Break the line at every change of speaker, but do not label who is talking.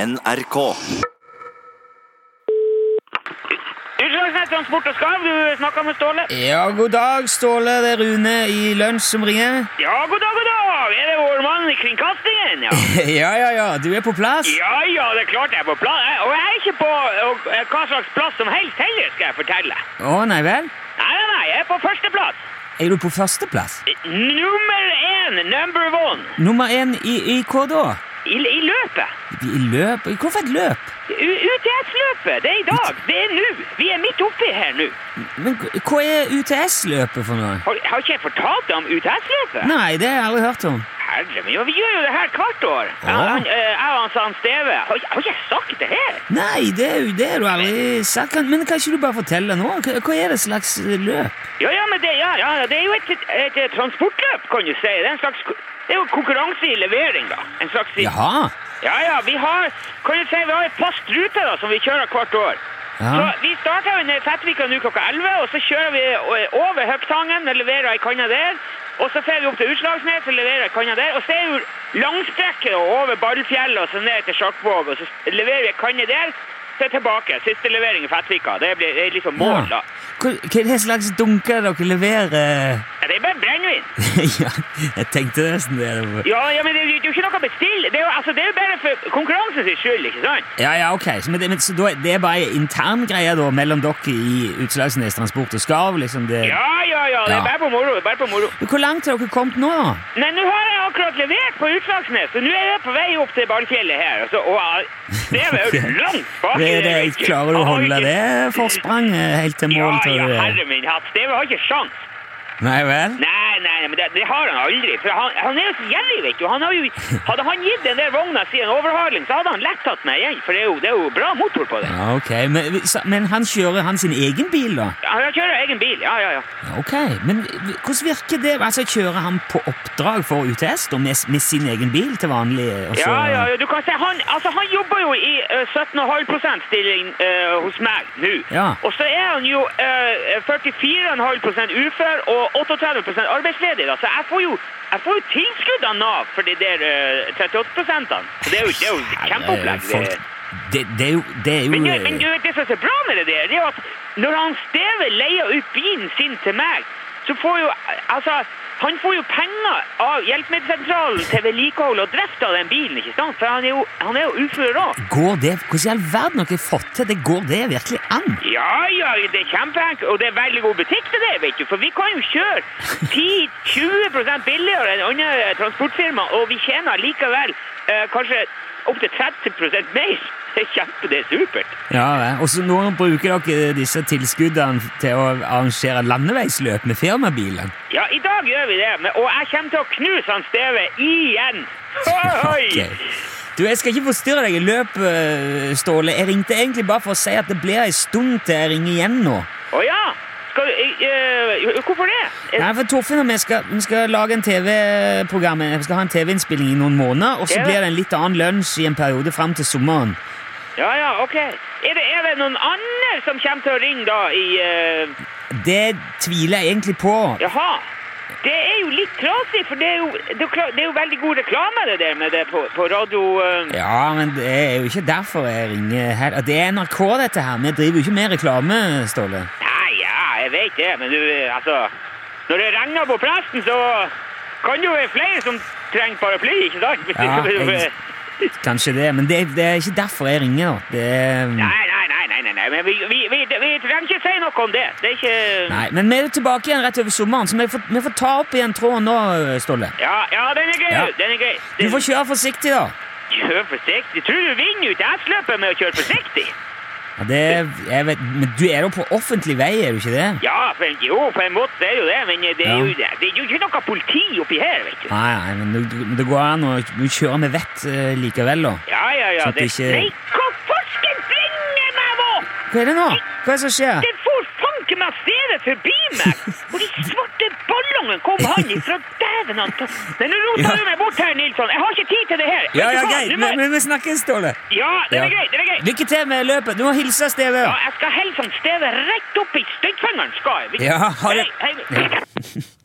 NRK.
Utslagsnett Transport og Skarv, du snakker med Ståle.
Ja, god dag, Ståle. Det er Rune i Lunsj som ringer.
Ja, god dag, god dag! Er det vår mann i kringkastingen? Ja,
Ja, ja, ja. Du er på plass?
ja, ja det er klart jeg er på plass. Jeg- Og jeg er ikke på og, eh, hva slags plass som helst heller, skal jeg fortelle.
Å, nei vel?
Nei, nei, nei, jeg er på førsteplass.
Er du på førsteplass?
Nummer én, number one,
Nummer én i, i hva da?
i, i løpet.
I løp? I Hvorfor et løp?
U- UTS-løpet, det er i dag, det er nå. Vi er midt oppi her nå.
Men hva- hva er UTS-løpet for noe?
Har, har ikke jeg fortalt deg om UTS-løpet?
Nei, det har jeg aldri hørt om.
Herre min, jo, vi gjør jo det her hvert år.
Ja.
Han- han, eh, Jeg og han sa han Steve, har, ikke- har ikke jeg sagt det her?
Nei, det er jo det har du aldri sagt. Kan- Men kan ikke du bare fortelle nå? Hva hva er det slags løp?
Ja, ja, men det, ja, ja, det er jo et, et, et transportløp, kan du si. Det er en slags ko- det er jo konkurranse i levering, da. En slags...
Jaha.
Ja, ja, vi har, kan du si, vi har et fast rute da, som vi kjører hvert år.
Ja.
Så vi starter jo ned i Fettvika nå klokka 11, og så kjører vi eh, over Høgtangen og leverer ei kanne der. Og så fer vi opp til Utslagsnes og leverer ei kanne der. Og så er jo langstrekket da, over Ballfjellet og så ned til Sjakvåg, og så s- leverer vi ei kanne der. Så er det tilbake. Siste levering i Fettvika. Det blir det er liksom mål, da.
Ja. Hva, hva er det slags dunker dere leverer?
Ja, det er bare brennevin.
ja, jeg tenkte nesten det.
Ja, ja, men det, det er jo ikke noe å bestille. Det er jo, altså, det er jo bare for konkurransen sin skyld, ikke sant?
Ja, ja, ok. Så, men det, men, så da, er- det er bare intern greie da, mellom dere i Utslagsnes Transport og Skarv? liksom det...
Ja, ja, ja. Det
Ja.
er bare på moro. det er Bare på moro.
Hvor langt har dere kommet nå? da?
Nei, nå har jeg akkurat levert på Utslagsnes, så nå er jeg på vei opp til Ballfjellet her. Altså, og jeg- det er jo langt bak. i
Det,
det,
det,
vet du.
klarer du å
Jeg har
holde
ikke-
det forspranget helt til mål?
Ja,
tror
ja,
du?
herre min hatt. Steve har ikke sjans.
Nei vel?
Nei, nei, nei, men det, det har han aldri. For han, han er jo så gjerrig, vet du. Han har jo, hadde han gitt den der vogna si en overhaling, så hadde han lett tatt meg igjen. For det er jo, det er jo bra motor på det.
Ja, ok. Men, vi- så- men han kjører han sin egen bil, da?
Ja, Han kjører egen bil. Ja, ja, ja.
Ja, ok. Men vi- hvordan virker det? Altså, Kjører han på oppdrag for UTS da, med, med sin egen bil til vanlig? eh, og så-
Ja, ja, ja, du kan se, han, altså, han jobber jo i eh, 17,5 stilling eh, hos meg nå.
Ja.
Og så er han jo eh, 44,5 ufør og 38 arbeidsledig. Da. Så jeg får, jo, jeg får jo tilskudd av Nav for de der eh, 38 Så det er jo, det er jo kjempeopplegg.
Folk-
det.
Det, det er jo, det er jo eh,
Men, du- men du vet det som er så bra med det der, det er jo at når han Steve leier ut bilen sin til meg, så får jo altså han får jo penger av hjelpemiddelsentralen til vedlikehold og drift av den bilen, ikke sant? For han er jo, han er jo ufør òg.
Går det, Hvordan i all verden har dere fått til det? Går det virkelig an?
Ja, ja, det er kjempeenkelt, og det er veldig god butikk til det, vet du. For vi kan jo kjøre 10-20 billigere enn andre transportfirma, og vi tjener likevel eh, kanskje opptil 30 mer. Det er kjempe, det er supert.
Ja, vel. og så Nå bruker dere disse tilskuddene til å arrangere landeveisløp med firmabilen.
Ja, i dag gjør vi det, men, og jeg kommer til å knuse han Steve igjen. Oi!
Ok. Du, Jeg skal ikke forstyrre deg i løpet, øh, Ståle. Jeg ringte egentlig bare for å si at det blir ei stund til jeg ringer igjen nå.
Å ja, skal du... eh, eh, hvorfor det? Eh,
Nei, for Torfinn og jeg skal, vi skal lage en TV-program. Vi skal ha en TV-innspilling i noen måneder, og så
Ja.
blir det en litt annen lunsj i en periode fram til sommeren.
Ja, ja, ok. Er det, er det noen andre som kommer til å ringe da i... eh,
Det tviler jeg egentlig på.
jaha. Det er jo litt trasig, for det er jo, det er jo klar- det er jo veldig god reklame det der med det på, på radio... eh.
Ja, men det er jo ikke derfor jeg ringer her. Det er NRK, dette her. Vi driver jo ikke med reklame, Ståle.
Nei, ja, jeg vet det, men du, eh, altså... Når det regner på presten, så kan det jo være flere som trenger paraply, ikke sant?
Ja, jeg- Kanskje det, men det, det er ikke derfor jeg ringer. da. Det er...
Nei, nei, nei, nei, nei, nei. men vi, vi, vi, vi trenger ikke si noe om det. Det er ikke...
Nei, Men vi er jo tilbake igjen rett over sommeren, så vi får, vi får ta opp igjen tråden nå, Ståle.
Ja, ja, den er grei,
Ja.
den er grei.
Du får kjøre forsiktig, da.
Kjør forsiktig. Tror du vinner ut S-løpet med å kjøre forsiktig?
Ja, det, jeg vet, men du er jo på offentlig vei, er du ikke det?
Ja, for, jo, på en måte er jo det, men det er,
Ja.
jo, det er jo ikke noe politi oppi her, vet du.
Nei, nei, men det, det går an å kjøre med vett eh, likevel, da.
Ja, ja, ja.
Så at
Det,
du ikke-
Nei, hva farsken bringer meg opp?
Hva er det nå? Hva er det som skjer?
Den får fanken meg stedet forbi meg! Og de svarte ballongene kom han ifra dæven han ta... Nei, nå roter
Ja.
du meg bort her, Nilsson. Jeg har ikke tid til det her.
Ja,
Vet du
ja,
hva?
greit.
Nå må
Men,
jeg-
men vi snakkes, Ståle.
Ja, den
Ja.
er grei, den er grei.
Lykke til med løpet. Du må hilse Steve.
sånn Ja, jeg skal helse han Steve rett opp i støttfingeren, skal jeg. Vi-
Ja, ha det.
Hei, hei.